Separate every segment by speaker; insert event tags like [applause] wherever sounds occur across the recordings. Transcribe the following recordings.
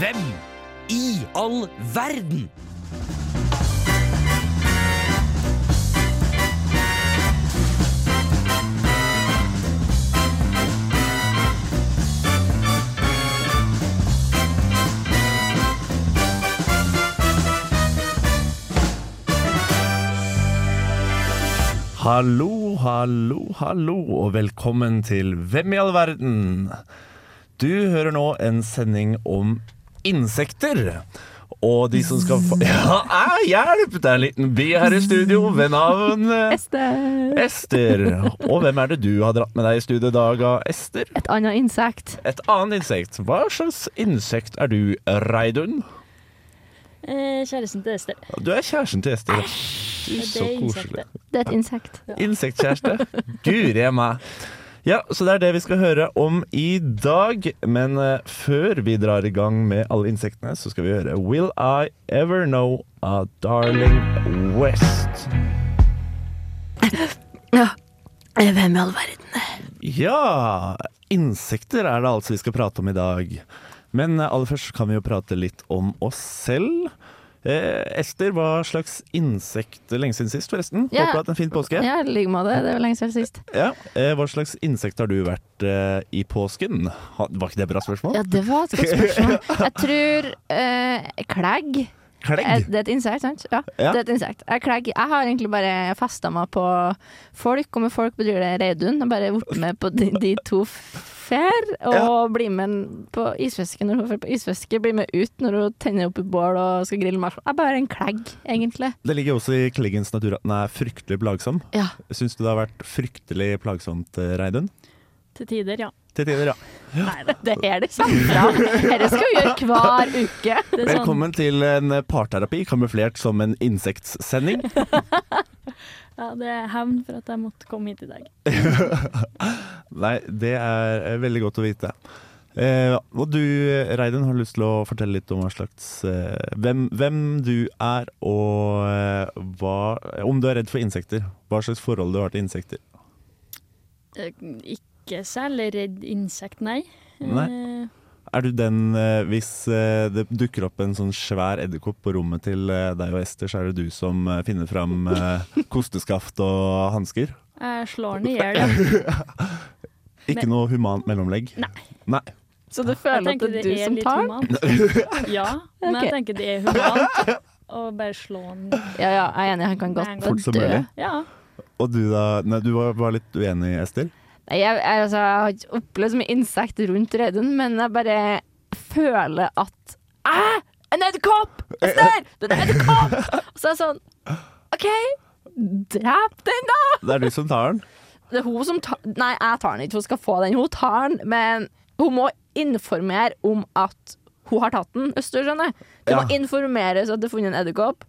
Speaker 1: Hvem i all verden?
Speaker 2: Hallo, hallo, hallo, og velkommen til Hvem i all verden? Du hører nå en sending om insekter. Og de som skal få [laughs] Ja, æ, hjelp! Det er en liten by her i studio ved navn eh,
Speaker 3: Ester.
Speaker 2: Ester. Og hvem er det du har dratt med deg i studio i dag, da, Ester?
Speaker 3: Et annet insekt.
Speaker 2: Et annet insekt. Hva slags insekt er du, Reidun?
Speaker 4: Eh, kjæresten til Ester.
Speaker 2: Du er kjæresten til Ester. Du,
Speaker 4: Det
Speaker 2: så koselig.
Speaker 4: er insektet.
Speaker 3: Det er et insekt.
Speaker 2: [laughs] Insektkjæreste. Guri meg. Ja, så det er det vi skal høre om i dag. Men eh, før vi drar i gang med alle insektene, så skal vi høre Will I Ever Know A Darling West.
Speaker 3: Ja. Hvem i all verden?
Speaker 2: Ja, insekter er det altså vi skal prate om i dag. Men eh, aller først kan vi jo prate litt om oss selv. Eh, Ester, hva slags insekt Lenge siden sist, forresten.
Speaker 3: Ja.
Speaker 2: Håper du har hatt en fin påske.
Speaker 3: Ja, i like måte. Det er vel lenge siden sist.
Speaker 2: Ja, eh, Hva slags insekt har du vært eh, i påsken? Ha, var ikke det et bra spørsmål?
Speaker 3: Ja, det var et godt spørsmål. [laughs] Jeg tror eh, klegg er,
Speaker 2: Klegg?
Speaker 3: Det er et insekt, sant? Ja,
Speaker 2: Ja.
Speaker 3: det er et insekt. Jeg, klegg, jeg har egentlig bare festa meg på folk, og med folk betyr det Reidun. Jeg har bare vært med på de, de to fer, og
Speaker 2: Ja.
Speaker 3: blir med på isfiske når hun drar på isfiske. Blir med ut når hun tenner opp et bål og skal grille marshmallows. Jeg er bare en klegg, egentlig.
Speaker 2: Det ligger jo også i kleggens natur at den er fryktelig plagsom.
Speaker 3: Ja.
Speaker 2: Syns du det har vært fryktelig plagsomt, eh, Reidun?
Speaker 4: Til tider, ja.
Speaker 2: Til tider, ja.
Speaker 4: Nei da.
Speaker 3: Det er det samme fra. Dette skal vi gjøre hver uke.
Speaker 4: Det er sånn,
Speaker 2: Velkommen til en parterapi kamuflert som en insektsending.
Speaker 4: ja, det er hevn for at jeg måtte komme hit i dag.
Speaker 2: Nei, det er eh, veldig godt å vite. Eh, og du, Reidun, har lyst til å fortelle litt om hva slags eh, hvem, hvem du er, og eh, hva Om du er redd for insekter. Hva slags forhold du har til insekter.
Speaker 4: Eh, Ikke særlig redd insekt, nei. Eh,
Speaker 2: Nei. Er du den eh, hvis eh, det dukker opp en sånn svær edderkopp på rommet til eh, deg og Ester, så er det du som eh, finner fram eh, kosteskaft og hansker?
Speaker 4: Eh, Jeg slår den i hjel, ja.
Speaker 2: Ikke
Speaker 4: Men-
Speaker 2: noe humant mellomlegg?
Speaker 4: Nei.
Speaker 2: Nei.
Speaker 3: Så du
Speaker 4: Jeg
Speaker 3: føler at
Speaker 4: tenker
Speaker 3: det er du som
Speaker 4: litt
Speaker 3: tar den?
Speaker 4: humant. Ja, men
Speaker 3: Ok.
Speaker 4: jeg tenker det er humant å bare slå den.
Speaker 3: Ja, ja, jeg er enig. Han kan
Speaker 4: Nei,
Speaker 3: godt
Speaker 2: Fort som
Speaker 3: dø.
Speaker 2: mulig.
Speaker 4: Ja.
Speaker 2: Og du da? Nei, du var, var litt uenig, Ester?
Speaker 3: Nei, jeg, jeg, altså, jeg har ikke opplevd så mye insekt rundt Reidun, men jeg bare føler at Æ! En edderkopp!
Speaker 2: [laughs]
Speaker 3: Jeg ser! Det er en edderkopp! Og så er jeg sånn OK, drep den, da!
Speaker 2: Det er du som tar den?
Speaker 3: Det er hun som tar Nei, jeg tar den ikke. Hun skal få den. Hun tar den, men hun må informere om at hun har tatt den, hvis du skjønner. Du
Speaker 2: Ja.
Speaker 3: må informeres at du har funnet en edderkopp,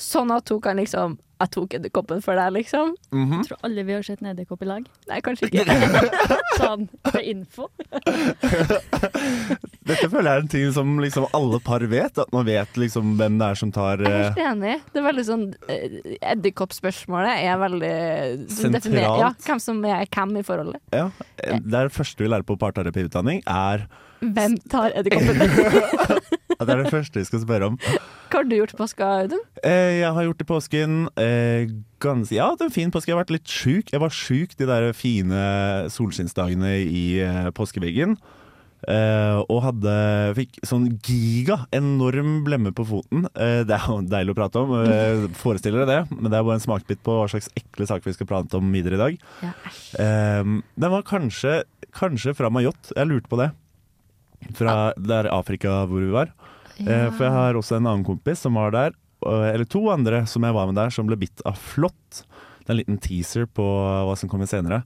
Speaker 3: sånn at hun kan liksom Jeg tok edderkoppen for deg, liksom.
Speaker 4: Jeg tror alle vi har sett en edderkopp i lag.
Speaker 3: Nei, kanskje ikke.
Speaker 4: Sånn, det er info.
Speaker 2: Dette føler jeg er en ting som liksom alle par vet, at man vet liksom hvem det er som tar
Speaker 3: Jeg er [laughs]
Speaker 2: eh,
Speaker 3: helt enig. Det er veldig sånn eh, Edderkoppspørsmålet er veldig som
Speaker 2: Sentralt.
Speaker 3: definerer- Ja, hvem som er hvem i forholdet.
Speaker 2: Ja. eh, Det er det første vi lærer på parterapiutdanning, er
Speaker 3: Hvem tar
Speaker 2: [laughs]
Speaker 3: edderkoppen?
Speaker 2: at det er det første vi skal spørre om.
Speaker 3: Hva har du gjort i påska, Audun?
Speaker 2: Eh, jeg har gjort det i påsken eh, ganske Ja, det er en fin påske. Jeg har vært litt sjuk. Jeg var sjuk de der fine solskinnsdagene i eh, påskeveggen. Eh, og hadde Fikk sånn giga, enorm blemme på foten. Eh, det er jo deilig å prate om. Eh, forestiller dere det? Men det er bare en smakbit på hva slags ekle saker vi skal prate om videre i dag.
Speaker 3: Ja,
Speaker 2: Eh, den var kanskje, kanskje fra Mayot. Jeg lurte på det. Fra der Afrika hvor vi var. Eh, For jeg har også en annen kompis som var der, og- eller to andre som jeg var med der, som ble bitt av flått. Det er en liten teaser på hva som kommer senere.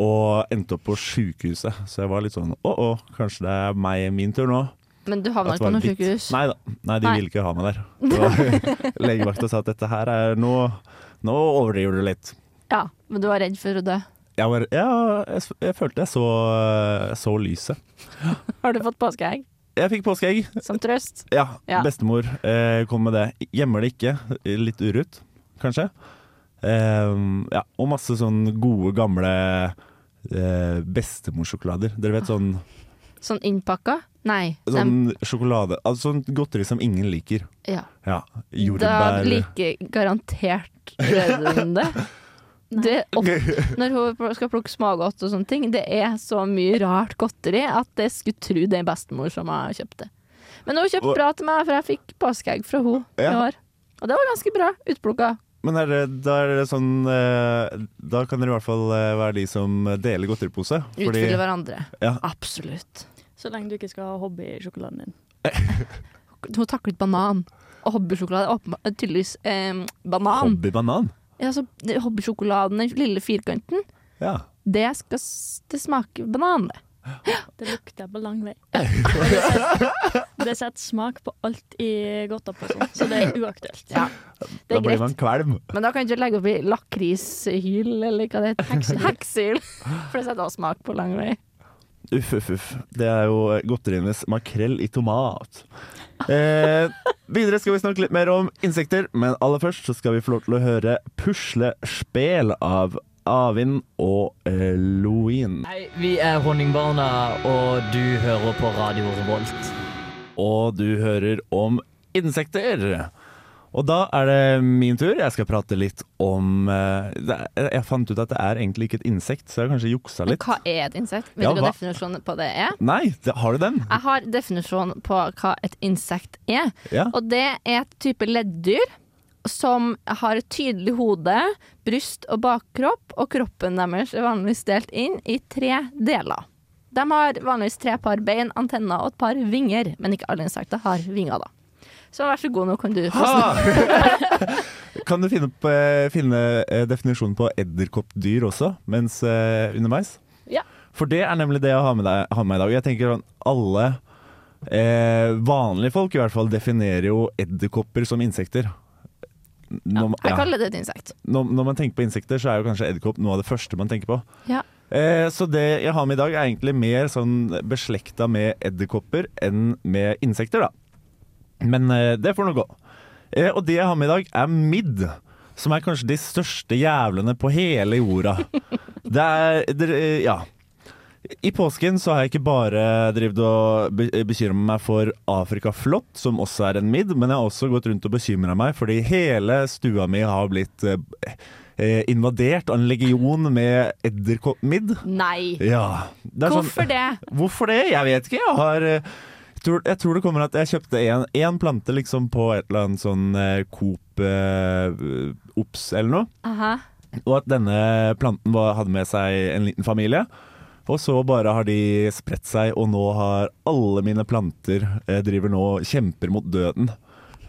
Speaker 2: Og endte opp på sjukehuset. Så jeg var litt sånn å å, kanskje det er meg min tur nå.
Speaker 3: Men du havna
Speaker 2: At det
Speaker 3: ikke
Speaker 2: var
Speaker 3: på noe
Speaker 2: bitt.
Speaker 3: sykehus?
Speaker 2: Nei da. Nei, de
Speaker 3: Nei.
Speaker 2: ville ikke ha meg der. Det var- Legevakta sa at dette her er Nå, nå overdriver du litt.
Speaker 3: Ja, men du var redd for å dø?
Speaker 2: Jeg, var, ja, jeg, s- jeg følte jeg så, så lyset.
Speaker 3: Har du fått påskeegg
Speaker 2: Jeg fikk påskeegg.
Speaker 3: som trøst?
Speaker 2: Ja,
Speaker 3: Ja.
Speaker 2: bestemor eh, kom med det. Gjemmer det ikke. Litt urutt, kanskje. Ehm, ja, og masse sånn gode, gamle eh, bestemorsjokolader. Dere vet sånn
Speaker 3: Sånn innpakka? Nei. dem-
Speaker 2: Sånn sjokolade Altså sånn godteri som ingen liker.
Speaker 3: ja.
Speaker 2: Ja.
Speaker 3: Da
Speaker 2: Jordbær
Speaker 3: liker garantert Reddun det.
Speaker 2: [laughs]
Speaker 3: det er opp, når hun pl- skal plukke smågodt og sånne ting, det er så mye rart godteri at jeg skulle tro det er bestemor som har kjøpt det. Men hun kjøpte
Speaker 2: Og-
Speaker 3: bra til meg, for jeg fikk påskeegg fra hun i
Speaker 2: Ja.
Speaker 3: år. Og det var ganske bra. Utplukka.
Speaker 2: [laughs] Men er det, da er det sånn eh, Da kan dere i hvert fall eh, være de som deler godteripose.
Speaker 3: Utfylle hverandre.
Speaker 2: Ja.
Speaker 3: Absolutt.
Speaker 4: Så lenge du ikke skal ha hobbysjokoladen din.
Speaker 3: Hun taklet banan. Og hobbysjokolade. åpenbart- Tydeligvis eh, banan.
Speaker 2: Hobbybanan.
Speaker 3: Ja, så det- Hobbysjokoladen, den lille firkanten,
Speaker 2: Ja.
Speaker 3: det skal s- det smake banan. det.
Speaker 4: Det lukter på
Speaker 2: [laughs]
Speaker 4: lang vei. Det setter- Det setter smak på alt i godteposen, sånn, så det er uaktuelt.
Speaker 3: Det
Speaker 2: Da
Speaker 3: er
Speaker 2: blir
Speaker 3: greit.
Speaker 2: man kvalm.
Speaker 3: Men da kan du ikke legge opp i lakrishyl, eller hva det [laughs] heter. Heksehyl. For det setter også smak på lang vei.
Speaker 2: Uff, uff, uff. Det er jo godterienes makrell i tomat. Eh, videre skal vi snakke litt mer om insekter, men aller først så skal vi få lov til å høre 'Puslespel' av Avin og eh, Eloin.
Speaker 5: Hei, vi er Honningbarna, og du hører på Radio Revolt.
Speaker 2: Og du hører om insekter. Og da er det min tur. Jeg skal prate litt om eh, det er- Jeg fant ut at det er egentlig ikke et insekt, så jeg har kanskje juksa
Speaker 3: Men
Speaker 2: litt.
Speaker 3: hva er et insekt? Vet
Speaker 2: Ja,
Speaker 3: du hva
Speaker 2: hva-
Speaker 3: definisjonen på det er?
Speaker 2: Nei, det, har du den?
Speaker 3: Jeg har definisjonen på hva et insekt er.
Speaker 2: Ja.
Speaker 3: Og det er et type leddyr som har et tydelig hode, bryst og bakkropp, og kroppen deres er vanligvis delt inn i tre deler. De har vanligvis tre par bein, antenner og et par vinger, men ikke alle insekter har vinger, da. Så vær så god, nå kan du få snakke.
Speaker 2: [laughs] Kan du finne, opp, eh, finne eh, definisjonen på edderkoppdyr også, mens eh, underveis?
Speaker 3: Ja.
Speaker 2: For det er nemlig det jeg har med, deg, har med meg i dag. Jeg tenker sånn alle eh, vanlige folk i hvert fall definerer jo edderkopper som insekter. Når man-
Speaker 3: Jeg
Speaker 2: ja.
Speaker 3: kaller det et insekt.
Speaker 2: når, når man tenker på insekter, så er jo kanskje edderkopp noe av det første man tenker på.
Speaker 3: Ja.
Speaker 2: Eh, så det jeg har med i dag, er egentlig mer sånn beslekta med edderkopper enn med insekter, da. Men eh, det får nå gå. Eh, og det jeg har med i dag, er midd. Som er kanskje de største jævlene på hele jorda. [laughs] Det er det, eh, Ja. I påsken så har jeg ikke bare drevet og be- eh, bekymret meg for Afrika Flott, som også er en midd, men jeg har også gått rundt og bekymra meg fordi hele stua mi har blitt eh, eh, invadert av en legion med edderkoppmidd.
Speaker 3: Nei.
Speaker 2: Ja. Det er sånn-
Speaker 3: Hvorfor det?
Speaker 2: Hvorfor det? Jeg vet ikke. Jeg har eh, tror, Jeg tror det kommer at jeg kjøpte en, en plante liksom på et eller annet sånn eh, Coop eh, Ops eller noe.
Speaker 3: Aha.
Speaker 2: Og at denne planten var, hadde med seg en liten familie. Og så bare har de spredt seg, og nå har alle mine planter eh, driver nå og kjemper mot døden.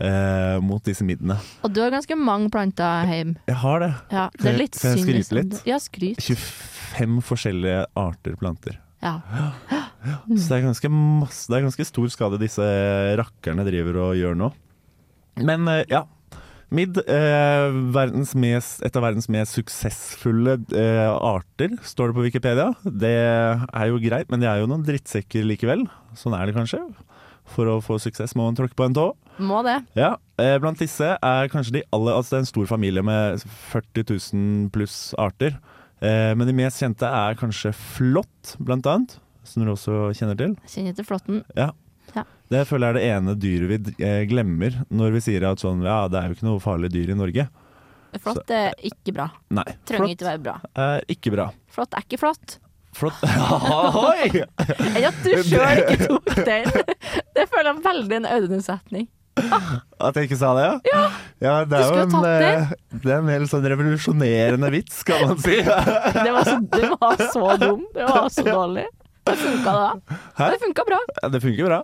Speaker 2: Eh, mot disse middene.
Speaker 3: Og du har ganske mange planter hjemme.
Speaker 2: Jeg har det.
Speaker 3: Ja,
Speaker 2: Kan
Speaker 3: det er
Speaker 2: jeg-
Speaker 3: litt
Speaker 2: kan jeg
Speaker 3: synd.
Speaker 2: skryte
Speaker 3: liksom.
Speaker 2: litt?
Speaker 3: Ja, skryt.
Speaker 2: 25 forskjellige arter planter.
Speaker 3: Ja.
Speaker 2: Så det er ganske, masse, det er ganske stor skade disse rakkerne driver og gjør nå. Men eh, ja. Midd, eh, verdens mest, et av verdens mest suksessfulle eh, arter, står det på Wikipedia. Det er jo greit, men det er jo noen drittsekker likevel. Sånn er det kanskje. For å få suksess må man tråkke på en tå.
Speaker 3: Må det.
Speaker 2: Ja, eh, Blant disse er kanskje de aller Altså det er en stor familie med 40 000 pluss arter. Eh, men de mest kjente er kanskje flått, blant annet. Som dere også kjenner til.
Speaker 3: Jeg Kjenner til flåtten.
Speaker 2: Ja.
Speaker 3: Ja.
Speaker 2: Det føler jeg er det ene dyret vi d- eh, glemmer når vi sier at sånn, ja, det er jo ikke noe farlig dyr i Norge.
Speaker 3: Flått er ikke bra.
Speaker 2: Nei,
Speaker 3: Trenger
Speaker 2: flått
Speaker 3: ikke være bra.
Speaker 2: er ikke bra.
Speaker 3: Flått er ikke flott. [laughs]
Speaker 2: Flått Ahoy!
Speaker 3: Eller at du sjøl ikke tok den. Det føler jeg veldig en Audun-setning.
Speaker 2: At jeg ikke sa det, ja? Ja, det
Speaker 3: Du
Speaker 2: er jo
Speaker 3: skulle
Speaker 2: en,
Speaker 3: tatt
Speaker 2: eh, det er en helt sånn revolusjonerende vits, kan man
Speaker 3: [laughs]
Speaker 2: si.
Speaker 3: Det var
Speaker 2: [laughs]
Speaker 3: så, det var så dum. Det var så dårlig. Det funka da.
Speaker 2: Hæ?
Speaker 3: Det funka bra.
Speaker 2: Ja, det funker bra.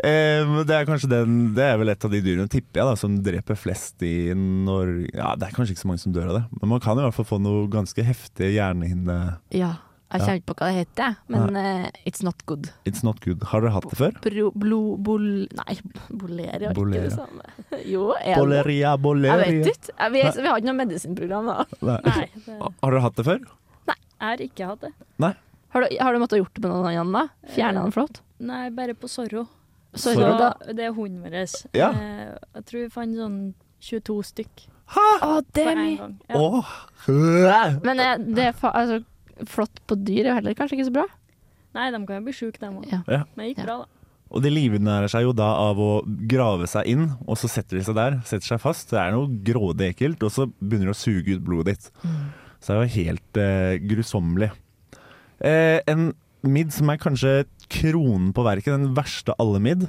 Speaker 2: Eh, men det er kanskje den Det er vel et av de dyrene, tipper jeg, da, som dreper flest i Norge Ja, det er kanskje ikke så mange som dør av det, men man kan i hvert fall få noe ganske heftig hjernehinne...
Speaker 3: Ja. Jeg kjenner ikke på hva det heter, jeg, men eh, it's not good.
Speaker 2: It's not good. Har dere hatt det før?
Speaker 3: Bro, blo, bol... Nei, bolere er ikke
Speaker 2: Bolere.
Speaker 3: det samme. Jo, er det?
Speaker 2: Boleria, boleria.
Speaker 3: Jeg vet ikke. Jeg- Vi, vi har ikke noe medisinprogram da.
Speaker 2: Nei.
Speaker 4: Nei, det jeg
Speaker 2: [laughs] Har dere hatt det før?
Speaker 4: har ikke hatt det.
Speaker 2: Nei.
Speaker 3: Har du, har du måttet gjort det med noen annen da? Fjernet den flott?
Speaker 4: Nei, bare på Sorro.
Speaker 3: Sorry,
Speaker 2: Sorro?
Speaker 3: da.
Speaker 4: Så Det er hunden vår.
Speaker 2: Ja.
Speaker 4: Eh, Jeg tror vi fant sånn 22 stykk
Speaker 3: Å, det
Speaker 4: på
Speaker 3: er
Speaker 4: en
Speaker 3: mye.
Speaker 4: gang. Ja.
Speaker 2: Åh! Øh.
Speaker 3: Men eh, det er fa altså, flott på dyr er jo heller kanskje ikke så bra.
Speaker 4: Nei, de kan jo bli sjuke, de òg.
Speaker 3: Ja.
Speaker 2: Ja.
Speaker 4: Men det gikk
Speaker 3: Ja.
Speaker 4: bra, da.
Speaker 2: Og de livnærer seg jo da av å grave seg inn, og så setter de seg der, setter seg fast. Det er noe grådig ekkelt, og så begynner de å suge ut blodet ditt.
Speaker 4: Mm.
Speaker 2: Så det er jo helt eh, grusommelig. Eh, en midd som er kanskje kronen på verket, den verste av alle midd,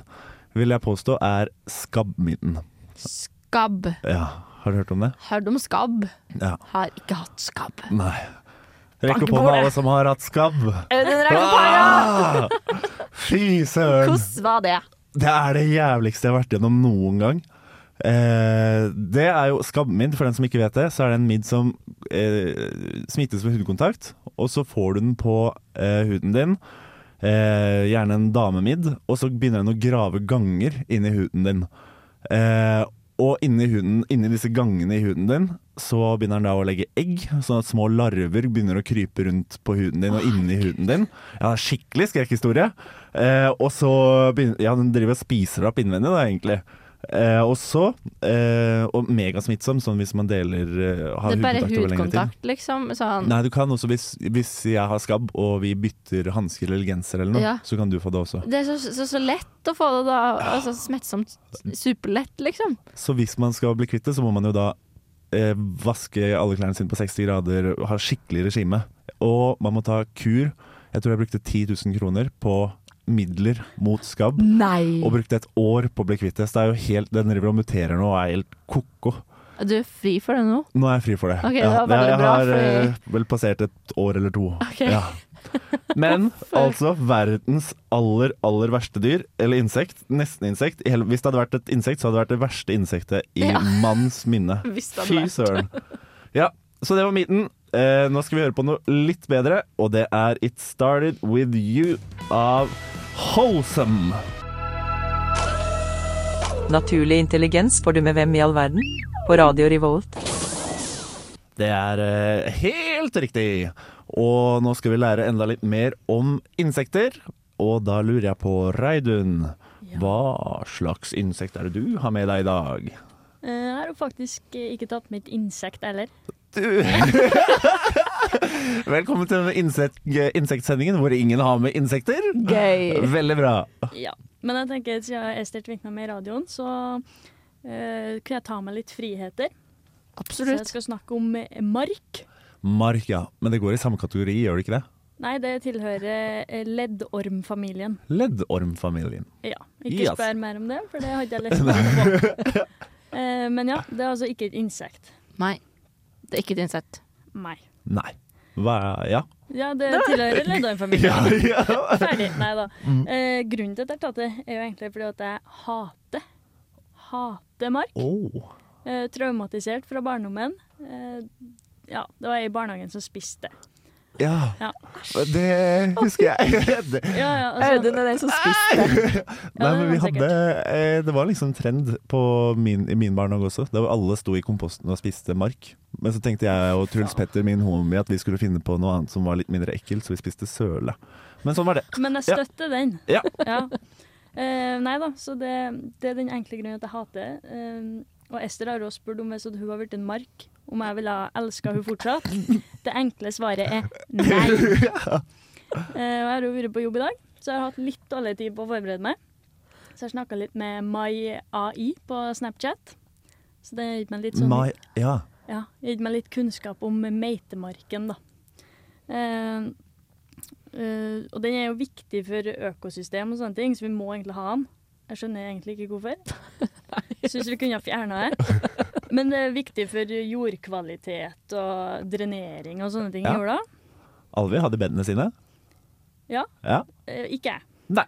Speaker 2: vil jeg påstå er skabbmidden.
Speaker 3: Skabb.
Speaker 2: Ja, har du hørt om det?
Speaker 3: Hørt om skabb?
Speaker 2: Ja.
Speaker 3: Har ikke hatt skabb.
Speaker 2: Nei. Rekk opp
Speaker 3: Bank i
Speaker 2: hånda
Speaker 3: bordet.
Speaker 2: alle som har hatt skabb.
Speaker 3: Audun Ragnopara!
Speaker 2: Fy søren!
Speaker 3: Hvordan var det?
Speaker 2: Det er det jævligste jeg har vært gjennom noen gang. Eh, det er jo skabbmidd, for den som ikke vet det. Så er det en midd som eh, smittes ved hudkontakt, og så får du den på eh, huden din. Eh, gjerne en damemidd, og så begynner den å grave ganger inni huden din. Eh, og inni, huden, inni disse gangene i huden din så begynner den da å legge egg, sånn at små larver begynner å krype rundt på huden din og inni huden din. Ja, det er skikkelig skrekkhistorie. Eh, og så begynner Ja, den driver og spiser deg opp innvendig, da, egentlig. Eh, og så eh, Og megasmittsom, sånn hvis man deler eh, har
Speaker 3: Det er bare
Speaker 2: hudkontakt over lengre tid.
Speaker 3: hudkontakt, liksom. Sånn.
Speaker 2: Nei, du kan også hvis, hvis jeg har skabb og vi bytter hansker eller genser eller noe,
Speaker 3: Ja.
Speaker 2: så kan du få det også.
Speaker 3: Det er så, så, så lett å få det, da. Altså, smettsomt. Superlett, liksom.
Speaker 2: Så hvis man skal bli kvitt det, så må man jo da eh, vaske alle klærne sine på 60 grader, ha skikkelig regime. Og man må ta kur. Jeg tror jeg brukte 10 000 kroner på midler mot skabb.
Speaker 3: Nei!
Speaker 2: Og brukte et år på å bli kvitt det. Så det er jo helt, den driver og muterer nå og er helt ko-ko.
Speaker 3: Du er fri for det nå?
Speaker 2: Nå er jeg fri for det.
Speaker 3: Ok, det var veldig
Speaker 2: jeg
Speaker 3: bra,
Speaker 2: har
Speaker 3: fordi-
Speaker 2: eh, vel passert et år eller to.
Speaker 3: Ok. [laughs]
Speaker 2: Ja. Men altså verdens aller, aller verste dyr, eller insekt, nesten insekt. I hele- Hvis det hadde vært et insekt, så hadde det vært det verste insektet i
Speaker 3: Ja. [laughs]
Speaker 2: manns minne.
Speaker 3: Hvis det hadde
Speaker 2: Fy
Speaker 3: vært.
Speaker 2: søren. Ja, så det var midten. Eh, nå skal vi høre på noe litt bedre, og det er It Started With You av Wholesome.
Speaker 6: Naturlig intelligens får du med hvem i all verden? På Radio Revolt.
Speaker 2: Det er eh, helt riktig. Og nå skal vi lære enda litt mer om insekter. Og da lurer jeg på, Reidun, hva slags insekt er det du har med deg i dag?
Speaker 4: Eh, Jeg har jo faktisk eh, ikke tatt med et insekt heller.
Speaker 2: Du. [laughs] Velkommen til denne insekt, insektsendingen hvor ingen har med insekter.
Speaker 3: Gøy.
Speaker 2: Veldig bra.
Speaker 4: Ja. Men jeg tenker siden jeg stjal vinka med i radioen, så eh, kunne jeg ta meg litt friheter. Så jeg
Speaker 3: Absolutt.
Speaker 4: skal snakke om eh, mark.
Speaker 2: Mark, ja. Men det går i samme kategori, gjør det ikke det?
Speaker 4: Nei, det tilhører eh, leddormfamilien.
Speaker 2: Leddormfamilien.
Speaker 4: Ja. Ikke
Speaker 2: Yes.
Speaker 4: spør mer om det, for det hadde jeg lest meg på. [laughs] Eh, Men ja, det er altså ikke et insekt.
Speaker 3: Nei. Det er ikke et insekt.
Speaker 4: Nei.
Speaker 2: Nei. Hva Ja.
Speaker 4: Ja, det tilhører leddormfamilien.
Speaker 2: [laughs]
Speaker 4: Ferdig. Nei da. Eh, grunnen til at jeg har tatt det, er jo egentlig fordi at jeg hater Hater mark.
Speaker 2: Oh.
Speaker 4: Eh, traumatisert fra barndommen. Eh, ja, det var jeg i barnehagen som spiste.
Speaker 2: Ja.
Speaker 4: Ja.
Speaker 2: Det husker jeg. Det,
Speaker 4: Ja, ja, altså,
Speaker 3: Audun er den som
Speaker 2: Nei,
Speaker 3: spiste.
Speaker 4: det
Speaker 2: men
Speaker 4: var
Speaker 2: vi
Speaker 4: sikkert.
Speaker 2: hadde eh, Det var liksom trend på min, i min barnehage også. Der alle sto i komposten og spiste mark. Men så tenkte jeg og Truls Petter, min homie, at vi skulle finne på noe annet som var litt mindre ekkelt, så vi spiste søle. Men sånn var det.
Speaker 4: men jeg
Speaker 2: Ja.
Speaker 4: støtter den.
Speaker 2: Ja.
Speaker 4: Ja. Eh, nei da, så det, det er den enkle grunnen at jeg hater det. Eh, og Ester har også spurt om hvis at hun har blitt en mark, om jeg ville ha elska hun fortsatt. Det enkle svaret er nei.
Speaker 2: [laughs]
Speaker 4: Eh, og jeg har jo vært på jobb i dag, så jeg har hatt litt dårlig tid på å forberede meg. Så jeg snakka litt med Mai AI på Snapchat. Så det har gitt meg litt sånn
Speaker 2: Mai, ja.
Speaker 4: Ja, gitt meg litt kunnskap om meitemarken, da. Eh, eh, og den er jo viktig for økosystem og sånne ting, så vi må egentlig ha den. Jeg skjønner egentlig ikke hvorfor. Syns vi kunne ha fjerna det. Men det er viktig for jordkvalitet og drenering og sånne ting
Speaker 2: Ja.
Speaker 4: i jorda.
Speaker 2: Alvi hadde bedene sine.
Speaker 4: Ja,
Speaker 2: Ja.
Speaker 4: eh, ikke jeg.
Speaker 2: Nei.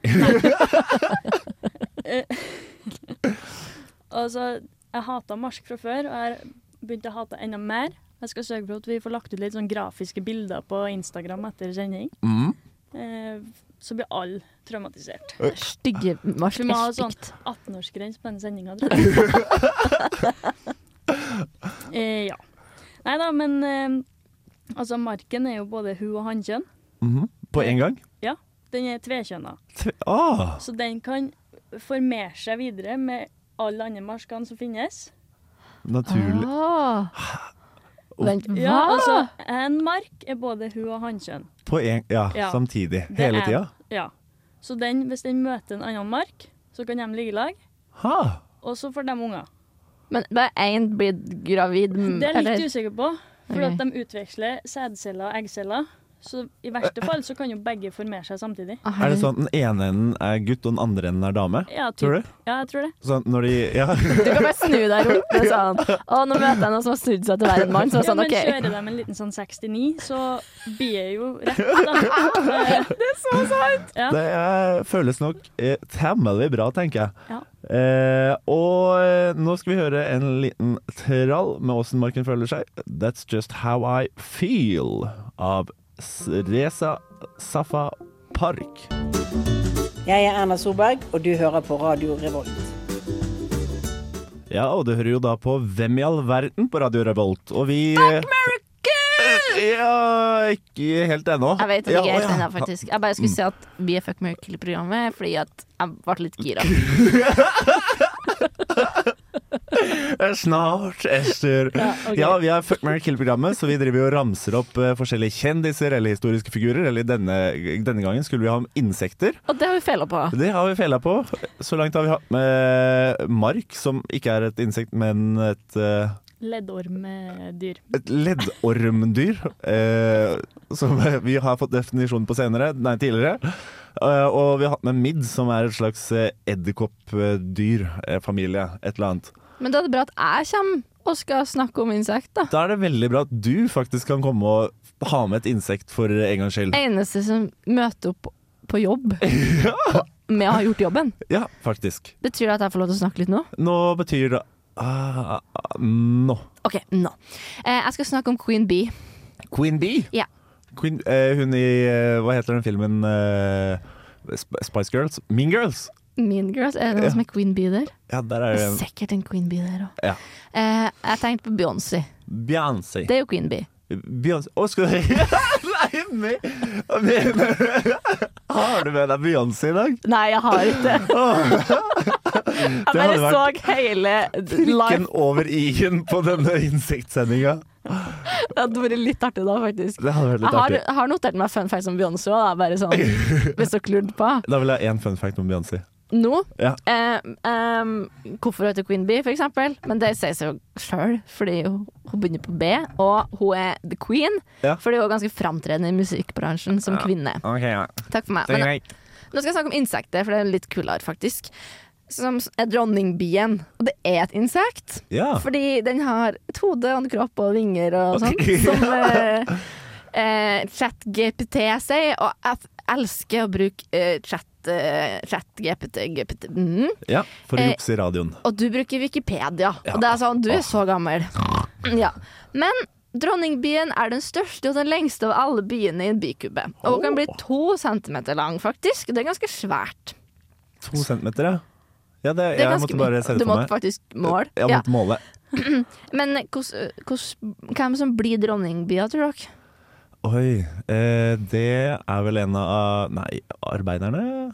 Speaker 4: Altså, jeg hata mark fra før, og jeg begynte å hate enda mer. Jeg skal sørge for at vi får lagt ut litt sånn grafiske bilder på Instagram etter sending.
Speaker 2: [laughs] Mm.
Speaker 4: Eh, så blir alle traumatisert.
Speaker 2: Eh.
Speaker 3: Stygge
Speaker 4: Vi må ha sånn
Speaker 3: markespekt.
Speaker 4: 18-årsgrense på denne sendinga, tror jeg. eh, ja. Nei da, men eh, altså, marken er jo både hu- og hannkjønn.
Speaker 2: Mhm. På én gang?
Speaker 4: Den er tvekjønna,
Speaker 2: Tve- Ah.
Speaker 4: så den kan formere seg videre med alle andre markene som finnes.
Speaker 2: Naturlig.
Speaker 3: Åh. Vent, hva?
Speaker 4: Ja, altså, en mark er både hu- og hannkjønn.
Speaker 2: På én ja,
Speaker 4: Ah. Ja.
Speaker 2: samtidig.
Speaker 4: Det
Speaker 2: Hele
Speaker 4: er-
Speaker 2: tida?
Speaker 4: Ja. Så den, hvis den møter en annen mark, så kan de ligge i lag,
Speaker 2: Ha!
Speaker 4: og så får de unger.
Speaker 3: Men bare én blir gravid
Speaker 4: Det er
Speaker 3: Mm.
Speaker 4: jeg
Speaker 3: eller-
Speaker 4: litt usikker på,
Speaker 3: Ok.
Speaker 4: for at de utveksler sædceller og eggceller. Så i verste fall så kan jo begge formere seg samtidig.
Speaker 3: Å,
Speaker 2: Er det
Speaker 3: herregud.
Speaker 2: sånn at den ene enden er gutt, og den andre enden er dame?
Speaker 4: Ja, Eh, typ.
Speaker 2: Tror du?
Speaker 4: Ja, jeg tror det.
Speaker 2: Sånn når de Ja. [laughs]
Speaker 3: Du kan bare snu deg rundt og sånn Å, nå møter jeg noen som har snudd seg til å være en mann. Så
Speaker 4: Ja,
Speaker 3: er det sånn,
Speaker 4: men
Speaker 3: ok
Speaker 4: kjører de en liten sånn 69, så blir jeg
Speaker 2: [laughs]
Speaker 4: jo rett, da. Eh,
Speaker 2: Det er, føles nok eh, temmelig bra, tenker jeg.
Speaker 4: Ja.
Speaker 2: Eh, og eh, nå skal vi høre en liten trall med åssen marken føler seg. That's Just How I Feel av S- Reza Safa Park.
Speaker 7: Jeg er Erna Solberg, og du hører på Radio Revolt.
Speaker 2: Ja, og du hører jo da på Hvem i all verden på Radio Revolt, og vi Ja, ikke helt ennå.
Speaker 3: Jeg vet
Speaker 2: ja,
Speaker 3: ikke
Speaker 2: å,
Speaker 3: helt
Speaker 2: ja.
Speaker 3: ennå, faktisk. Jeg bare skulle si at vi er Fuck Mary Kill-programmet fordi at jeg ble litt gira.
Speaker 2: Snart, Ester. Ja, vi har Fuck Mary Kill-programmet, så vi driver jo og ramser opp eh, forskjellige kjendiser eller historiske figurer. Eller denne, denne gangen skulle vi ha om insekter.
Speaker 3: [laughs] Og det har vi feila på.
Speaker 2: Det har vi fela på. Så langt har vi hatt med mark, som ikke er et insekt, men et, eh,
Speaker 4: Leddormdyr.
Speaker 2: et leddormdyr. eh, Som vi har fått definisjonen på senere, nei, tidligere. Eh, Og vi har hatt med midd, som er et slags eh, edderkoppdyrfamilie. Et eller annet.
Speaker 3: Men da er det bra at jeg kommer og skal snakke om insekt, da.
Speaker 2: Da er det veldig bra at du faktisk kan komme og ha med et insekt for en gangs skyld.
Speaker 3: Eneste som møter opp på
Speaker 2: [laughs]
Speaker 3: jobb med å ha gjort jobben.
Speaker 2: Ja, faktisk.
Speaker 3: Betyr det at jeg får lov til å snakke litt nå?
Speaker 2: Nå betyr det ah, ah, Nå.
Speaker 3: OK, nå. Eh, jeg skal snakke om Queen Bee.
Speaker 2: Queen Bee.
Speaker 3: Ja.
Speaker 2: Queen, eh, hun i eh, Hva heter den filmen? Eh, Sp- Spice Girls? Mean Girls!
Speaker 3: Mean Girls, er det
Speaker 2: Ja.
Speaker 3: noen
Speaker 2: Eh.
Speaker 3: som er Queen Bee der?
Speaker 2: Ja, der
Speaker 3: Det
Speaker 2: er
Speaker 3: er
Speaker 2: hun.
Speaker 3: sikkert en Queen Bee der òg.
Speaker 2: Ja.
Speaker 3: Eh, jeg tenkte på Beyoncé.
Speaker 2: Beyoncé.
Speaker 3: Det er jo Queen Bee.
Speaker 2: Beyoncé Å, skal du [laughs] Nei, men, men Har du med deg Beyoncé i dag?
Speaker 3: Nei, jeg har
Speaker 2: [laughs]
Speaker 3: ikke det. Jeg
Speaker 2: Det
Speaker 3: bare
Speaker 2: hadde vært
Speaker 3: så hele
Speaker 2: prikken
Speaker 3: live.
Speaker 2: over i-en på denne insektsendinga.
Speaker 3: Det hadde vært litt artig da, faktisk.
Speaker 2: Det hadde vært
Speaker 3: Jeg
Speaker 2: litt
Speaker 3: har,
Speaker 2: artig.
Speaker 3: jeg har notert meg fun facts om Beyoncé òg, bare
Speaker 2: [laughs]
Speaker 3: sånn hvis dere lurte på.
Speaker 2: Da vil jeg ha én fun fact om Beyoncé.
Speaker 3: Nå
Speaker 2: Ja.
Speaker 3: eh, em, Hvorfor hun heter Queen Bee, for eksempel. Men det sier seg jo sjøl, fordi hun, hun begynner på B, og hun er the queen.
Speaker 2: Ja.
Speaker 3: Fordi hun er ganske framtredende i musikkbransjen som kvinne.
Speaker 2: Ok, ja.
Speaker 3: Takk for meg. Men, nå skal jeg snakke om insekter, for det er litt kulere, faktisk. Som er dronningbien. Og det er et insekt.
Speaker 2: Ja.
Speaker 3: Fordi den har et hode og en kropp og vinger og sånn.
Speaker 2: Ok. [laughs]
Speaker 3: Som eh, eh, ChatGPT sier. Og jeg elsker å bruke eh, chat, eh, ChatGPT. GPT, mm.
Speaker 2: ja, for å
Speaker 3: Eh,
Speaker 2: jukse i radioen.
Speaker 3: Og du bruker Wikipedia. Og det er sånn, du er så gammel. Ja. Men Dronningbien er den største og den lengste av alle biene i en bykube. Og hun kan bli to centimeter lang, faktisk. Det er ganske svært.
Speaker 2: To centimeter, ja. ja det,
Speaker 3: Det er
Speaker 2: jeg
Speaker 3: ganske
Speaker 2: måtte bare
Speaker 3: mye.
Speaker 2: se det
Speaker 3: Du
Speaker 2: for
Speaker 3: måtte
Speaker 2: meg.
Speaker 3: faktisk måle.
Speaker 2: Jeg
Speaker 3: Ja.
Speaker 2: måtte måle.
Speaker 3: Men hos, hos, hvem som blir dronningbia, tror dere?
Speaker 2: Oi, eh, det er vel en av Nei, arbeiderne?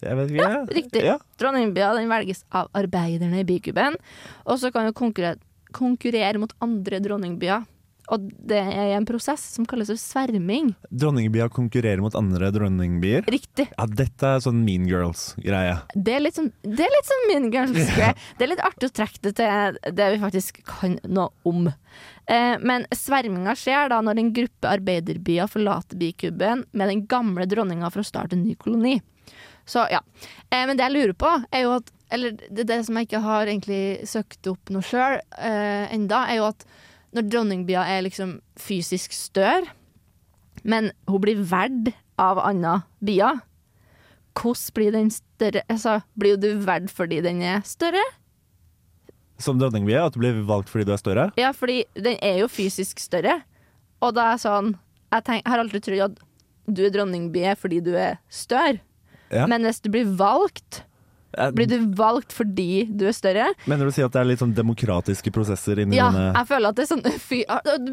Speaker 2: Jeg vet ikke. Ja,
Speaker 3: Riktig.
Speaker 2: Ja.
Speaker 3: Dronningbia den velges av arbeiderne i bikuben. Og så kan hun konkurrere, konkurrere mot andre dronningbyer. Og det er en prosess som kalles for sverming.
Speaker 2: Dronningbia konkurrerer mot andre dronningbier.
Speaker 3: Riktig.
Speaker 2: Ja, dette er sånn Mean Girls-greie.
Speaker 3: Det er litt sånn, det er litt sånn min ganske Det er litt artig å trekke det til det vi faktisk kan noe om. Eh, men sverminga skjer da når en gruppe arbeiderbyer forlater bikuben med den gamle dronninga for å starte en ny koloni. Så ja. Eh, men det jeg lurer på, er jo at Eller det, er det som jeg ikke har egentlig søkt opp noe sjøl eh, enda, er jo at når dronningbia er liksom fysisk større, men hun blir verd av andre bier hvordan blir den større altså, Blir jo du verd fordi den er større?
Speaker 2: Som dronningbie, at du blir valgt fordi du er større?
Speaker 3: Ja, fordi den er jo fysisk større. Og da er jeg sånn Jeg tenk, har aldri trodd at du er dronningbie fordi du er større.
Speaker 2: Ja.
Speaker 3: Men hvis du blir valgt,
Speaker 2: Eh,
Speaker 3: blir du valgt fordi du er større?
Speaker 2: Mener du å si at det er litt sånn demokratiske prosesser inni
Speaker 3: Ja,
Speaker 2: denne
Speaker 3: jeg føler at det er sånn fy,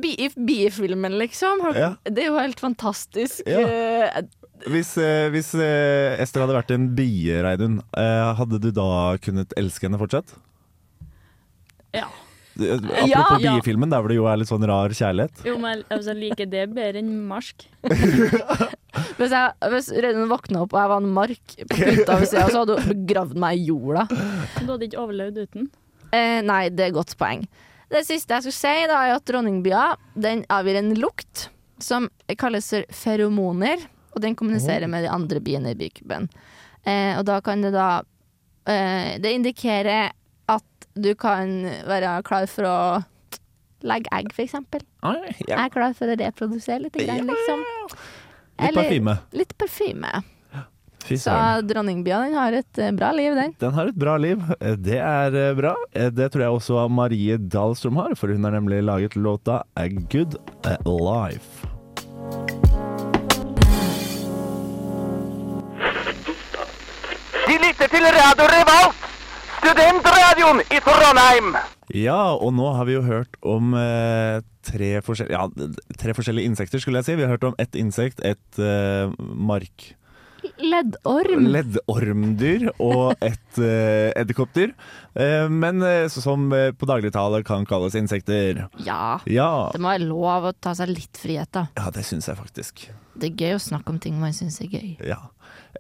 Speaker 3: bi, I biefilmen, liksom. Har-
Speaker 2: Ja.
Speaker 3: Det er jo helt fantastisk.
Speaker 2: Ja.
Speaker 3: eh,
Speaker 2: Hvis, eh, hvis eh, Ester hadde vært en bie, Reidun, eh, hadde du da kunnet elske henne fortsatt?
Speaker 4: Ja.
Speaker 2: Apropos
Speaker 3: Ja.
Speaker 2: biefilmen, der hvor det jo er litt sånn rar kjærlighet.
Speaker 4: Jo, men altså, jeg liker det bedre enn marsk.
Speaker 3: Hvis, jeg, hvis Reidun våkna opp og jeg var en mark på puta ved sida, så hadde hun begravd meg i jorda.
Speaker 4: Du hadde ikke overlevd uten.
Speaker 3: Eh, nei, det er et godt poeng. Det siste jeg skulle si, da, er at dronningbya den avgir en lukt som kalles for feromoner. Og den kommuniserer med de andre biene i bykuben. Eh, og da kan det da eh, Det indikerer at du kan være klar for å legge egg, for eksempel.
Speaker 1: Ah, ja.
Speaker 3: Jeg er klar for å reprodusere litt, grann, liksom.
Speaker 2: Litt
Speaker 3: Eller-
Speaker 2: parfyme.
Speaker 3: Litt parfyme.
Speaker 2: Fy
Speaker 3: Så
Speaker 2: søren.
Speaker 3: dronningbya den har et eh, bra liv, den.
Speaker 2: Den har et bra liv. Eh, Det er eh, bra. Eh, Det tror jeg også Marie Dahlstrøm har, for hun har nemlig laget låta A Good Life.
Speaker 8: De lytter til Radio Revolt, studentradioen i Trondheim.
Speaker 2: Ja, og nå har vi jo hørt om eh, tre, forskjell ja, tre forskjellige insekter, skulle jeg si. Vi har hørt om ett insekt, et eh, mark...
Speaker 3: Leddorm.
Speaker 2: Leddormdyr og et eh, edderkoppdyr. Eh, men eh, så- som eh, på dagligtale kan kalles insekter.
Speaker 3: Ja.
Speaker 2: Ja,
Speaker 3: Det må være lov å ta seg litt frihet, da.
Speaker 2: ja det syns jeg faktisk.
Speaker 3: Det er gøy å snakke om ting man syns er gøy.
Speaker 2: Ja.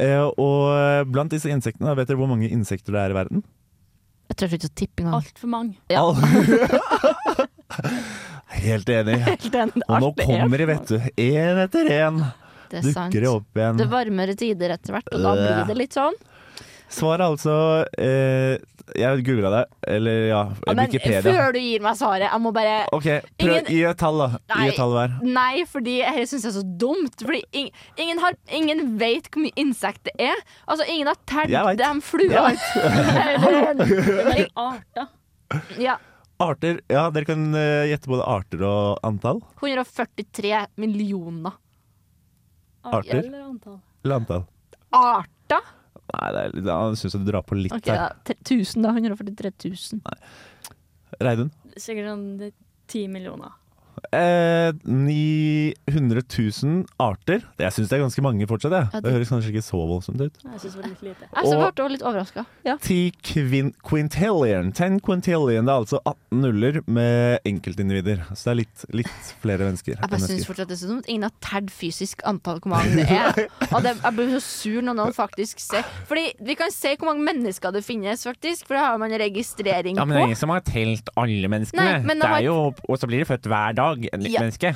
Speaker 2: Eh, og blant disse insektene, vet dere hvor mange insekter det er i verden?
Speaker 3: Jeg tør ikke å tippe engang.
Speaker 4: Altfor
Speaker 3: [laughs]
Speaker 4: mange.
Speaker 3: Ja.
Speaker 2: All- [laughs] Helt enig. Og nå kommer de, vet du. Én etter én
Speaker 3: det er sant.
Speaker 2: dukker de opp Øh, igjen.
Speaker 3: Det er varmere tider etter hvert, og da blir det litt sånn.
Speaker 2: Svaret er altså eh, Jeg googla det. Eller ja,
Speaker 3: Ja, men
Speaker 2: Wikipedia.
Speaker 3: før du gir meg svaret, jeg må bare
Speaker 2: OK, prøv,
Speaker 3: Ingen-
Speaker 2: gi et tall, da. Gi
Speaker 3: Nei.
Speaker 2: et tall hver.
Speaker 3: Nei, fordi dette syns jeg er så dumt. Fordi ing- ingen, har, ingen vet hvor mye insekt det er. Altså, ingen har
Speaker 2: Jeg
Speaker 3: telt
Speaker 2: vet.
Speaker 3: de fluene.
Speaker 4: Det er bare arter.
Speaker 3: [laughs] ja,
Speaker 2: Arter. Ja, dere kan eh, gjette både arter og antall.
Speaker 3: 143 millioner
Speaker 2: Arter?
Speaker 4: Arter eller antall?
Speaker 2: Eller antall.
Speaker 3: arter.
Speaker 2: Nei, det er, litt- ja, jeg syns du drar på litt
Speaker 3: OK,
Speaker 2: her.
Speaker 3: da. 1000, da. 143 000.
Speaker 2: Reidun?
Speaker 4: Sikkert sånn ti millioner.
Speaker 2: Eh, 900 000 arter. Det- Jeg syns det er ganske mange fortsatt. Jeg.
Speaker 3: Ja,
Speaker 2: det...
Speaker 3: det-
Speaker 2: høres kanskje ikke så voldsomt ut.
Speaker 4: Jeg syns det var litt lite.
Speaker 3: Jeg så
Speaker 2: Og-
Speaker 3: ble litt overraska. Ja.
Speaker 2: Ti kvin quintillion. Ten quintillion. Det er altså 18 nuller med enkeltindivider. Så det er litt, litt flere mennesker.
Speaker 3: Jeg
Speaker 2: enn
Speaker 3: bare synes
Speaker 2: mennesker.
Speaker 3: fortsatt det er så dumt. Ingen har tært fysisk antall hvor mange det er.
Speaker 1: [laughs]
Speaker 3: Og det, jeg blir så sur når noen faktisk ser Fordi vi kan se hvor mange mennesker det finnes, faktisk. For det har man en registrering
Speaker 1: Ja, men det er
Speaker 3: på.
Speaker 1: ingen som har telt alle menneskene.
Speaker 3: Nei, men
Speaker 1: det
Speaker 3: da
Speaker 1: er
Speaker 3: var-
Speaker 1: jo, og så blir det født hver dag et nytt
Speaker 3: Ja.
Speaker 1: menneske.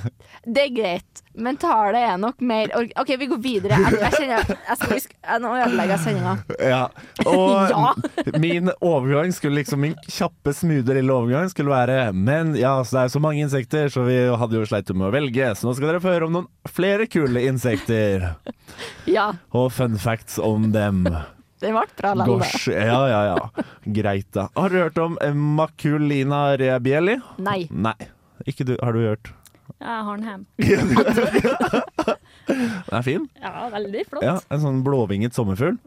Speaker 3: Det er greit, men tallet er nok mer org- OK, vi går videre. Jeg, jeg kjenner jeg skal, vi skal, jeg, Nå ødelegger jeg sendinga.
Speaker 2: Ja.
Speaker 3: Ja.
Speaker 2: Og min overgang skulle liksom Min kjappe, smoothe lille overgang skulle være Men ja, så det er så mange insekter, så vi hadde jo sleit med å velge. Så nå skal dere få høre om noen flere kule insekter.
Speaker 3: Ja,
Speaker 2: Og fun facts om dem.
Speaker 3: den ble bra landa.
Speaker 2: Gosh. Ja, ja, ja. Greit, da. Har du hørt om eh, Maculina rebielli?
Speaker 3: Nei.
Speaker 2: Nei. Ikke du, har du hørt? [laughs]
Speaker 4: Jeg har den hjemme.
Speaker 2: Den er fin.
Speaker 4: Ja, veldig flott.
Speaker 2: Ja, En sånn blåvinget sommerfugl.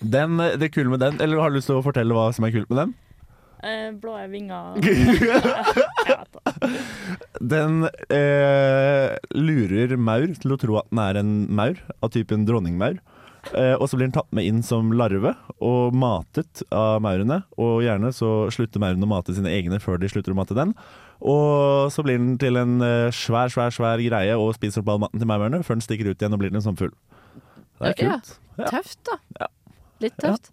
Speaker 2: Den, eh, det er kule med den Eller har du lyst til å fortelle hva som er kult med den?
Speaker 4: Eh, blå vinger
Speaker 2: [laughs]
Speaker 4: ja, jeg vet da.
Speaker 2: Den eh, lurer maur til å tro at den er en maur, av typen dronningmaur. Eh, og så blir den tatt med inn som larve og matet av maurene. Og gjerne så slutter maurene å mate sine egne før de slutter å mate den. Og så blir den til en eh, svær, svær svær greie og spiser opp all maten til maurene før den stikker ut igjen og blir til en sånn fugl. Det er
Speaker 3: Ja.
Speaker 2: kult. Ja.
Speaker 3: Tøft, da.
Speaker 2: Ja.
Speaker 3: Litt tøft.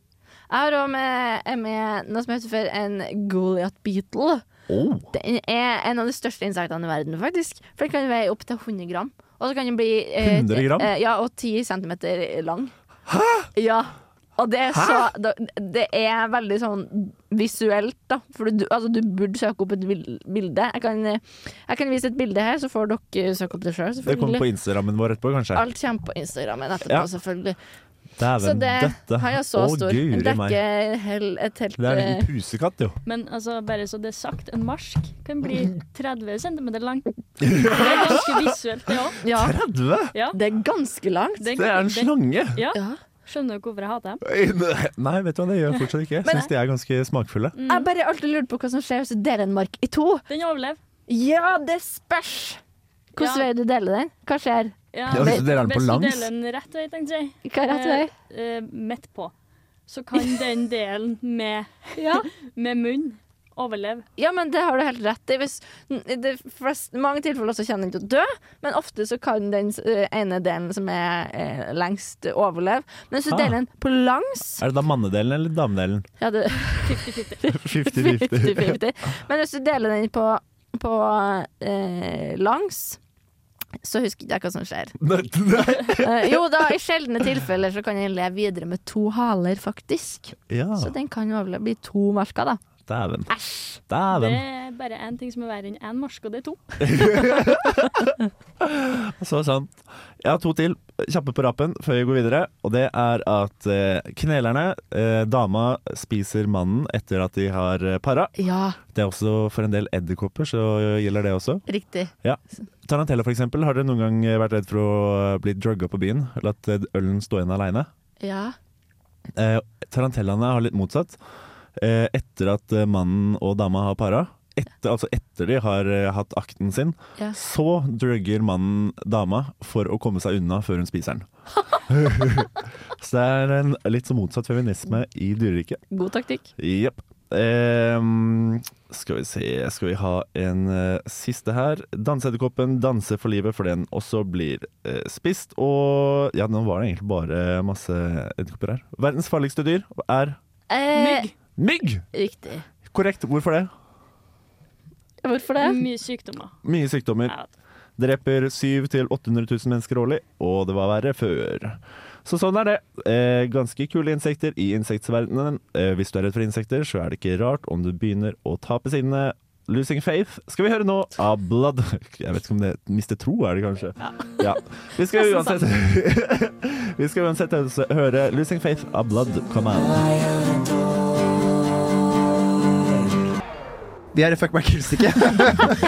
Speaker 3: Jeg har òg med, med noe som heter for en Goliat beetle.
Speaker 2: Oh.
Speaker 3: Den er en av de største insektene i verden, faktisk. For den kan veie opp til 100 gram. Og så kan den bli eh,
Speaker 2: 100 gram?
Speaker 3: Eh, ja, og 10 centimeter lang. Hæ?! Ja. Og det er, så, da- det er veldig sånn visuelt, da. For du, altså, du burde søke opp et vil- bilde. Jeg kan, eh, jeg kan vise et bilde her, så får dere søke opp det sjøl,
Speaker 2: Det kommer
Speaker 3: selvfølgelig.
Speaker 2: på Instagrammen vår etterpå, kanskje.
Speaker 3: Alt kommer på Instagrammen etterpå,
Speaker 2: Ja.
Speaker 3: selvfølgelig. Så
Speaker 2: Dæven,
Speaker 3: det,
Speaker 2: dette
Speaker 3: han er så
Speaker 2: Å,
Speaker 3: stor.
Speaker 2: guri
Speaker 3: Den
Speaker 2: meg.
Speaker 3: dekker hel, et helt
Speaker 2: Det er en
Speaker 3: eh,
Speaker 2: liten pusekatt, jo.
Speaker 4: Men altså, bare så det er sagt, en marsk kan bli 30 cm lang. Det er ganske visuelt, det òg.
Speaker 3: Ja,
Speaker 2: 30!
Speaker 4: Ja.
Speaker 3: det er ganske langt.
Speaker 2: Det er en slange!
Speaker 4: Ja.
Speaker 3: Ja.
Speaker 4: Skjønner du hvorfor jeg hater dem?
Speaker 2: Nei, vet du hva, det gjør jeg fortsatt ikke. Jeg
Speaker 3: Men- Mm.
Speaker 2: syns de er ganske smakfulle.
Speaker 3: Jeg bare alltid lurte på hva som skjer hvis du deler en mark i to.
Speaker 4: Den overlever.
Speaker 3: Ja, det spørs! Hvordan
Speaker 4: Ja.
Speaker 3: vei du deler den? Hva skjer?
Speaker 4: Ja,
Speaker 2: Ja, hvis du deler den på langs.
Speaker 4: Hvis du deler den rett vei, tenkte jeg.
Speaker 3: Hva er rett vei?
Speaker 4: Eh, eh, midt på. Så kan den delen [laughs] med,
Speaker 3: [laughs] Ja.
Speaker 4: med munn overleve.
Speaker 3: Ja, men det har du helt rett i. Hvis, det flest, mange tilfeller så kjenner den til å dø, men ofte så kan den eh, ene delen som er eh, lengst, overleve. Men hvis du
Speaker 2: Ah.
Speaker 3: deler den på langs
Speaker 2: Er det da mannedelen eller
Speaker 3: [laughs]
Speaker 2: damedelen?
Speaker 3: ja, det,
Speaker 2: [laughs] 50-50.
Speaker 3: 50-50. Men hvis du deler den på, på eh, langs, så husker ikke jeg hva som
Speaker 2: [laughs]
Speaker 3: skjer.
Speaker 2: Nei, nei.
Speaker 3: Eh, jo da, i sjeldne tilfeller så kan den leve videre med to haler, faktisk.
Speaker 2: Ja,
Speaker 3: Så den kan overleve. Bli to marker, da.
Speaker 2: dæven.
Speaker 3: Æsj.
Speaker 4: Det
Speaker 2: Dæven.
Speaker 4: er bare én ting som er verre enn én marsk, og det er to.
Speaker 2: Så sant. Jeg har to til kjappe på rappen før vi går videre. Og det er at eh, knelerne, eh, dama spiser mannen etter at de har eh, para.
Speaker 3: Ja,
Speaker 2: Det er også for en del edderkopper, så gjelder det også.
Speaker 3: riktig.
Speaker 2: Tarantella for eksempel, har dere noen gang eh, vært redd for å bli drugga på byen? Eller at eh, ølen står igjen aleine?
Speaker 3: Ja.
Speaker 2: Eh, tarantellaene har litt motsatt. Eh, etter at eh, mannen og dama har para, etter, altså etter de har eh, hatt akten sin,
Speaker 3: Ja.
Speaker 2: så drugger mannen dama for å komme seg unna før hun
Speaker 3: [laughs]
Speaker 2: spiser den. så det er en litt så motsatt feminisme i dyreriket.
Speaker 3: God taktikk.
Speaker 2: Jepp. Ehm, skal vi se Skal vi ha en eh, siste her? Danseedderkoppen danser for livet, for den også blir eh, spist. Og ja, nå var det egentlig bare masse edderkopper her. Verdens farligste dyr er
Speaker 3: Eh,
Speaker 4: Mygg.
Speaker 2: mygg!
Speaker 3: riktig.
Speaker 2: Korrekt. Hvorfor det?
Speaker 3: Hvorfor det?
Speaker 4: Mye sykdommer.
Speaker 2: Mye sykdommer.
Speaker 4: Ja.
Speaker 2: Dreper 700 000-800 000 mennesker årlig, og det var verre før. Så sånn er det. Eh, ganske kule insekter i insektsverdenen. Eh, hvis du er redd for insekter, så er det ikke rart om du begynner å tape sinnet. Losing Faith skal vi høre nå av Blood [laughs] Jeg vet ikke om det Mister tro, er det kanskje? Ja. Vi skal uansett [laughs] Vi skal uansett høre Losing Faith av Blood Come Out.
Speaker 9: Vi er i fuck meg kullstykke.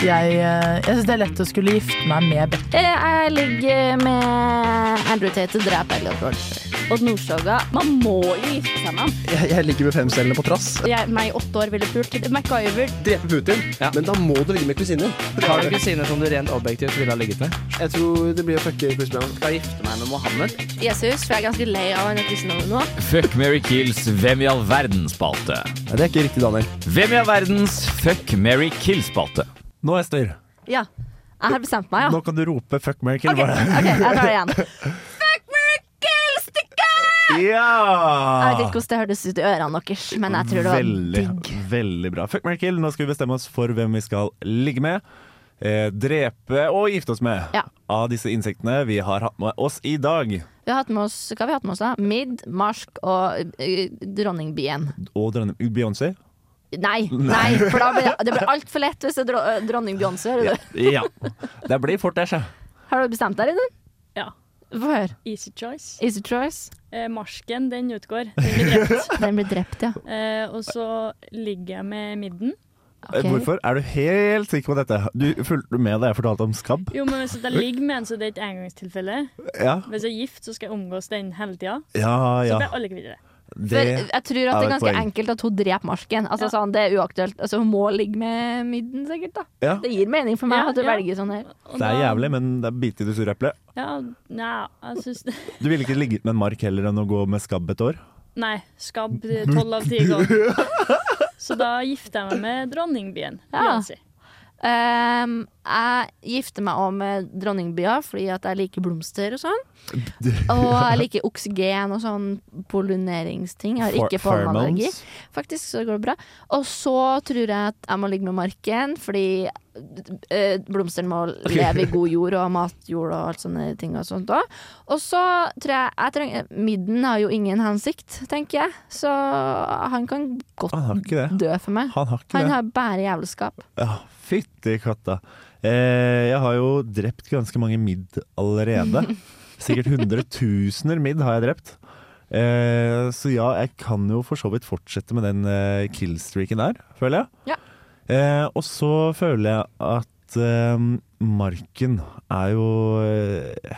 Speaker 9: jeg jeg syns det er lett å skulle gifte meg med Beck.
Speaker 3: Eh, Jeg ligger med Andrew Tate og dreper Elliot Rolfer. Odd Nordstoga. Man må jo gifte seg med ham.
Speaker 9: Jeg, ligger med femcellene på trass.
Speaker 3: Jeg, meg i åtte år ville pult. MacGyver.
Speaker 9: Drepe Putin. Men da må du ligge med kusiner.
Speaker 5: Har du kusine som du rent objektivt ville ha ligget med?
Speaker 9: Jeg tror det blir å fucke Chris Brown. Skal jeg gifte meg med Mohammed?
Speaker 3: Jesus, for jeg er ganske lei av han kristendommen nå.
Speaker 10: Fuck Mary Kills Hvem i all verden-spalte.
Speaker 9: det er ikke riktig, Daniel.
Speaker 10: Hvem i all verdens Fuck Mary Kill-spalte.
Speaker 2: Nå, Ester,
Speaker 3: Ja. Jeg har bestemt meg, ja.
Speaker 2: nå kan du rope 'fuck, marry, kill'.
Speaker 3: OK,
Speaker 2: bare.
Speaker 3: ok, jeg tar det igjen. Fuck miracle-stykket! Jeg vet
Speaker 2: Ja!
Speaker 3: ikke hvordan det hørtes ut i ørene deres, men jeg tror det var
Speaker 2: Ah. veldig,
Speaker 3: digg.
Speaker 2: Veldig bra. Fuck, marry, kill. Nå skal vi bestemme oss for hvem vi skal ligge med, eh, drepe og gifte oss med
Speaker 3: Ja.
Speaker 2: av disse insektene vi har hatt med oss i dag.
Speaker 3: Vi har hatt med oss, hva har vi hatt med oss da? Midd, marsk og eh, dronningbien.
Speaker 2: Og dronning Beyoncé.
Speaker 3: Nei, nei, for da blir det, det blir altfor lett hvis det er dro, eh, dronning Beyoncé. hører du?
Speaker 2: Ja. Det blir fort det, sjø.
Speaker 3: Har du bestemt deg, Rine?
Speaker 4: Ja.
Speaker 3: Få høre.
Speaker 4: Easy choice.
Speaker 3: Easy choice.
Speaker 4: Eh, marsken, den utgår. Den blir
Speaker 9: [laughs]
Speaker 4: drept.
Speaker 3: Den blir drept, ja.
Speaker 4: Eh, og så ligger jeg med midden.
Speaker 3: Ok.
Speaker 2: Eh, Hvorfor? Er du helt sikker på dette? Du Fulgte du med da jeg fortalte om skabb?
Speaker 4: Jo, men hvis jeg ligger med en, så det er et engangstilfelle.
Speaker 2: Ja,
Speaker 4: Hvis jeg er gift, så skal jeg omgås den hele tida.
Speaker 2: ja.
Speaker 4: Så
Speaker 2: ja.
Speaker 4: blir alle kvitt det.
Speaker 3: For
Speaker 2: Det
Speaker 3: jeg tror at det er
Speaker 2: et
Speaker 3: ganske
Speaker 2: poeng.
Speaker 3: enkelt at hun dreper marsken. Altså
Speaker 4: Ja.
Speaker 3: sånn, Det er uaktuelt. Altså Hun må ligge med midden, sikkert. da
Speaker 2: ja.
Speaker 3: Det gir mening for meg
Speaker 4: Ja,
Speaker 3: at du
Speaker 4: ja.
Speaker 3: velger sånn her.
Speaker 4: Og
Speaker 2: Det er
Speaker 4: da-
Speaker 2: jævlig, men det er bite i det sure eplet.
Speaker 4: Ja, nei, jeg synes det [laughs]
Speaker 2: Du ville ikke ligget med en mark heller enn å gå med skabb et år?
Speaker 4: Nei, skabb tolv av ti ganger.
Speaker 9: [laughs]
Speaker 4: Så da gifter jeg meg med dronningbyen.
Speaker 3: Ja.
Speaker 4: Beyoncé.
Speaker 3: Ehm, jeg gifter meg òg med dronningbia fordi at jeg liker blomster og sånn.
Speaker 2: [laughs]
Speaker 3: Og jeg liker oksygen og sånn pollineringsting. Jeg har ikke
Speaker 2: Far-
Speaker 3: pollenallergi.
Speaker 2: pheromones?
Speaker 3: Faktisk, så det går bra. Og så tror jeg at jeg må ligge med marken, fordi eh, blomstene må leve i god jord og matjord og alt sånne ting og sånt òg. Og så tror jeg, jeg trenger, Midden har jo ingen hensikt, tenker jeg, så han kan godt
Speaker 2: Ah, Han har ikke det.
Speaker 3: dø for meg.
Speaker 2: Han har ikke
Speaker 3: Han
Speaker 2: det.
Speaker 3: har bare jævelskap.
Speaker 2: Ja, fytti katta. Eh, jeg har jo drept ganske mange midd
Speaker 4: [laughs]
Speaker 2: allerede. Sikkert hundretusener midd har jeg drept. Eh, så ja, jeg kan jo for så vidt fortsette med den eh, killstreaken der, føler jeg.
Speaker 3: Ja.
Speaker 2: Eh, og så føler jeg at eh, marken er jo eh,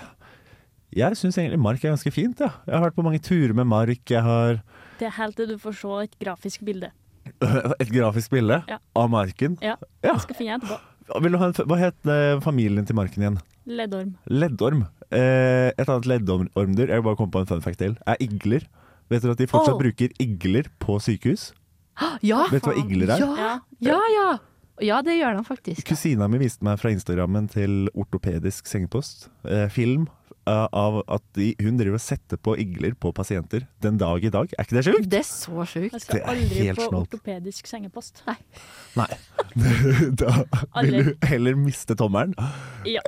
Speaker 2: Jeg syns egentlig mark er ganske fint, ja. Jeg har vært på mange turer med mark. Jeg har [clears throat]
Speaker 4: Det er helt til du får se et grafisk bilde.
Speaker 2: et grafisk bilde
Speaker 4: Ja.
Speaker 2: av marken.
Speaker 4: Ja,
Speaker 2: Ja.
Speaker 4: Jeg skal finne etterpå.
Speaker 2: Vil du ha en, f- hva het eh, familien til marken igjen?
Speaker 4: Leddorm.
Speaker 2: Leddorm. Eh, et annet leddormdyr Jeg bare kom på en fun fact til. Er igler. Vet dere at de fortsatt
Speaker 3: Oh.
Speaker 2: bruker igler på sykehus?
Speaker 3: Ja,
Speaker 2: Vet du hva igler er?
Speaker 3: ja, ja, ja. Ja, det gjør de faktisk.
Speaker 2: Kusina mi viste meg fra Instagrammen til ortopedisk sengepost, eh, film, eh, av at de, hun driver og setter på igler på pasienter den dag i dag. Er ikke det sjukt?
Speaker 3: Det er så sjukt.
Speaker 4: Jeg skal
Speaker 2: Det er
Speaker 4: aldri
Speaker 2: helt
Speaker 4: på
Speaker 2: snålt.
Speaker 4: ortopedisk sengepost.
Speaker 2: Nei. [laughs] da vil du heller miste tommelen
Speaker 4: [laughs] Ja.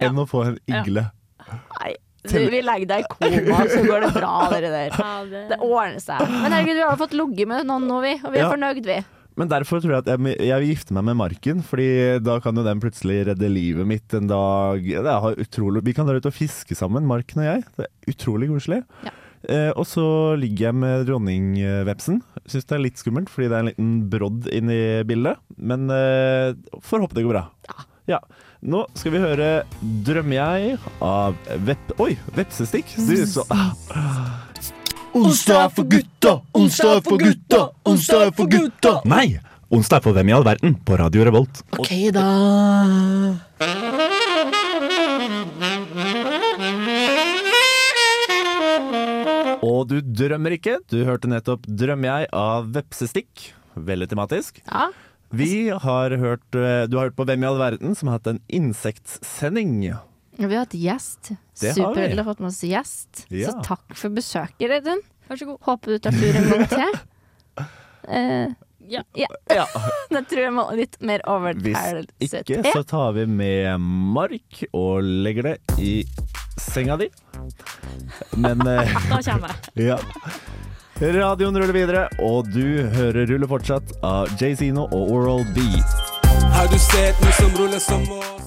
Speaker 2: enn å få en igle.
Speaker 3: Nei, du, vi legger deg i koma, så går det bra, dere der.
Speaker 4: Ja, det-
Speaker 3: Det ordner seg. Men herregud, vi har fått ligget med noen nå, vi. Og vi er
Speaker 2: Ja.
Speaker 3: fornøyd, vi.
Speaker 2: Men derfor tror jeg at jeg, jeg vil gifte meg med marken, Fordi da kan jo den plutselig redde livet mitt en dag. Det er utrolig, vi kan dra ut og fiske sammen, marken og jeg. Det er utrolig koselig.
Speaker 3: Ja.
Speaker 2: Eh, og så ligger jeg med dronningvepsen. Syns det er litt skummelt, fordi det er en liten brodd inni bildet. Men eh, får håpe det går bra. Ja. Nå skal vi høre 'Drømmer jeg' av Vepp... Oi, vepsestikk! Du, så Ah. Onsdag er for gutta, onsdag er for gutta, onsdag er for gutta. Nei! Onsdag er for hvem i all verden? På Radio Revolt.
Speaker 9: OK, da.
Speaker 2: Og du drømmer ikke. Du hørte nettopp 'Drømmer jeg' av Vepsestikk. Veldig tematisk.
Speaker 3: Ja.
Speaker 2: Vi har hørt, eh, du har hørt på Hvem i all verden, som har hatt en insektsending.
Speaker 3: Vi har hatt gjest.
Speaker 2: Det har vi.
Speaker 3: Superheldig å ha fått med oss gjest.
Speaker 2: Ja.
Speaker 3: Så takk for besøket, Reidun.
Speaker 4: Vær så god.
Speaker 3: Håper du tar turen en gang [laughs] til. Eh,
Speaker 4: Ja.
Speaker 3: [laughs]
Speaker 2: Ja,
Speaker 3: da tror jeg må litt mer over til
Speaker 2: Hvis ikke,
Speaker 3: søthet.
Speaker 2: så tar vi med mark og legger det i senga di. Men eh, [laughs]
Speaker 4: Da kommer jeg.
Speaker 2: ja. Radioen ruller videre, og du hører 'Ruller fortsatt' av Jay Zino og Oral B.
Speaker 11: Har du sett noe som ruller som mål?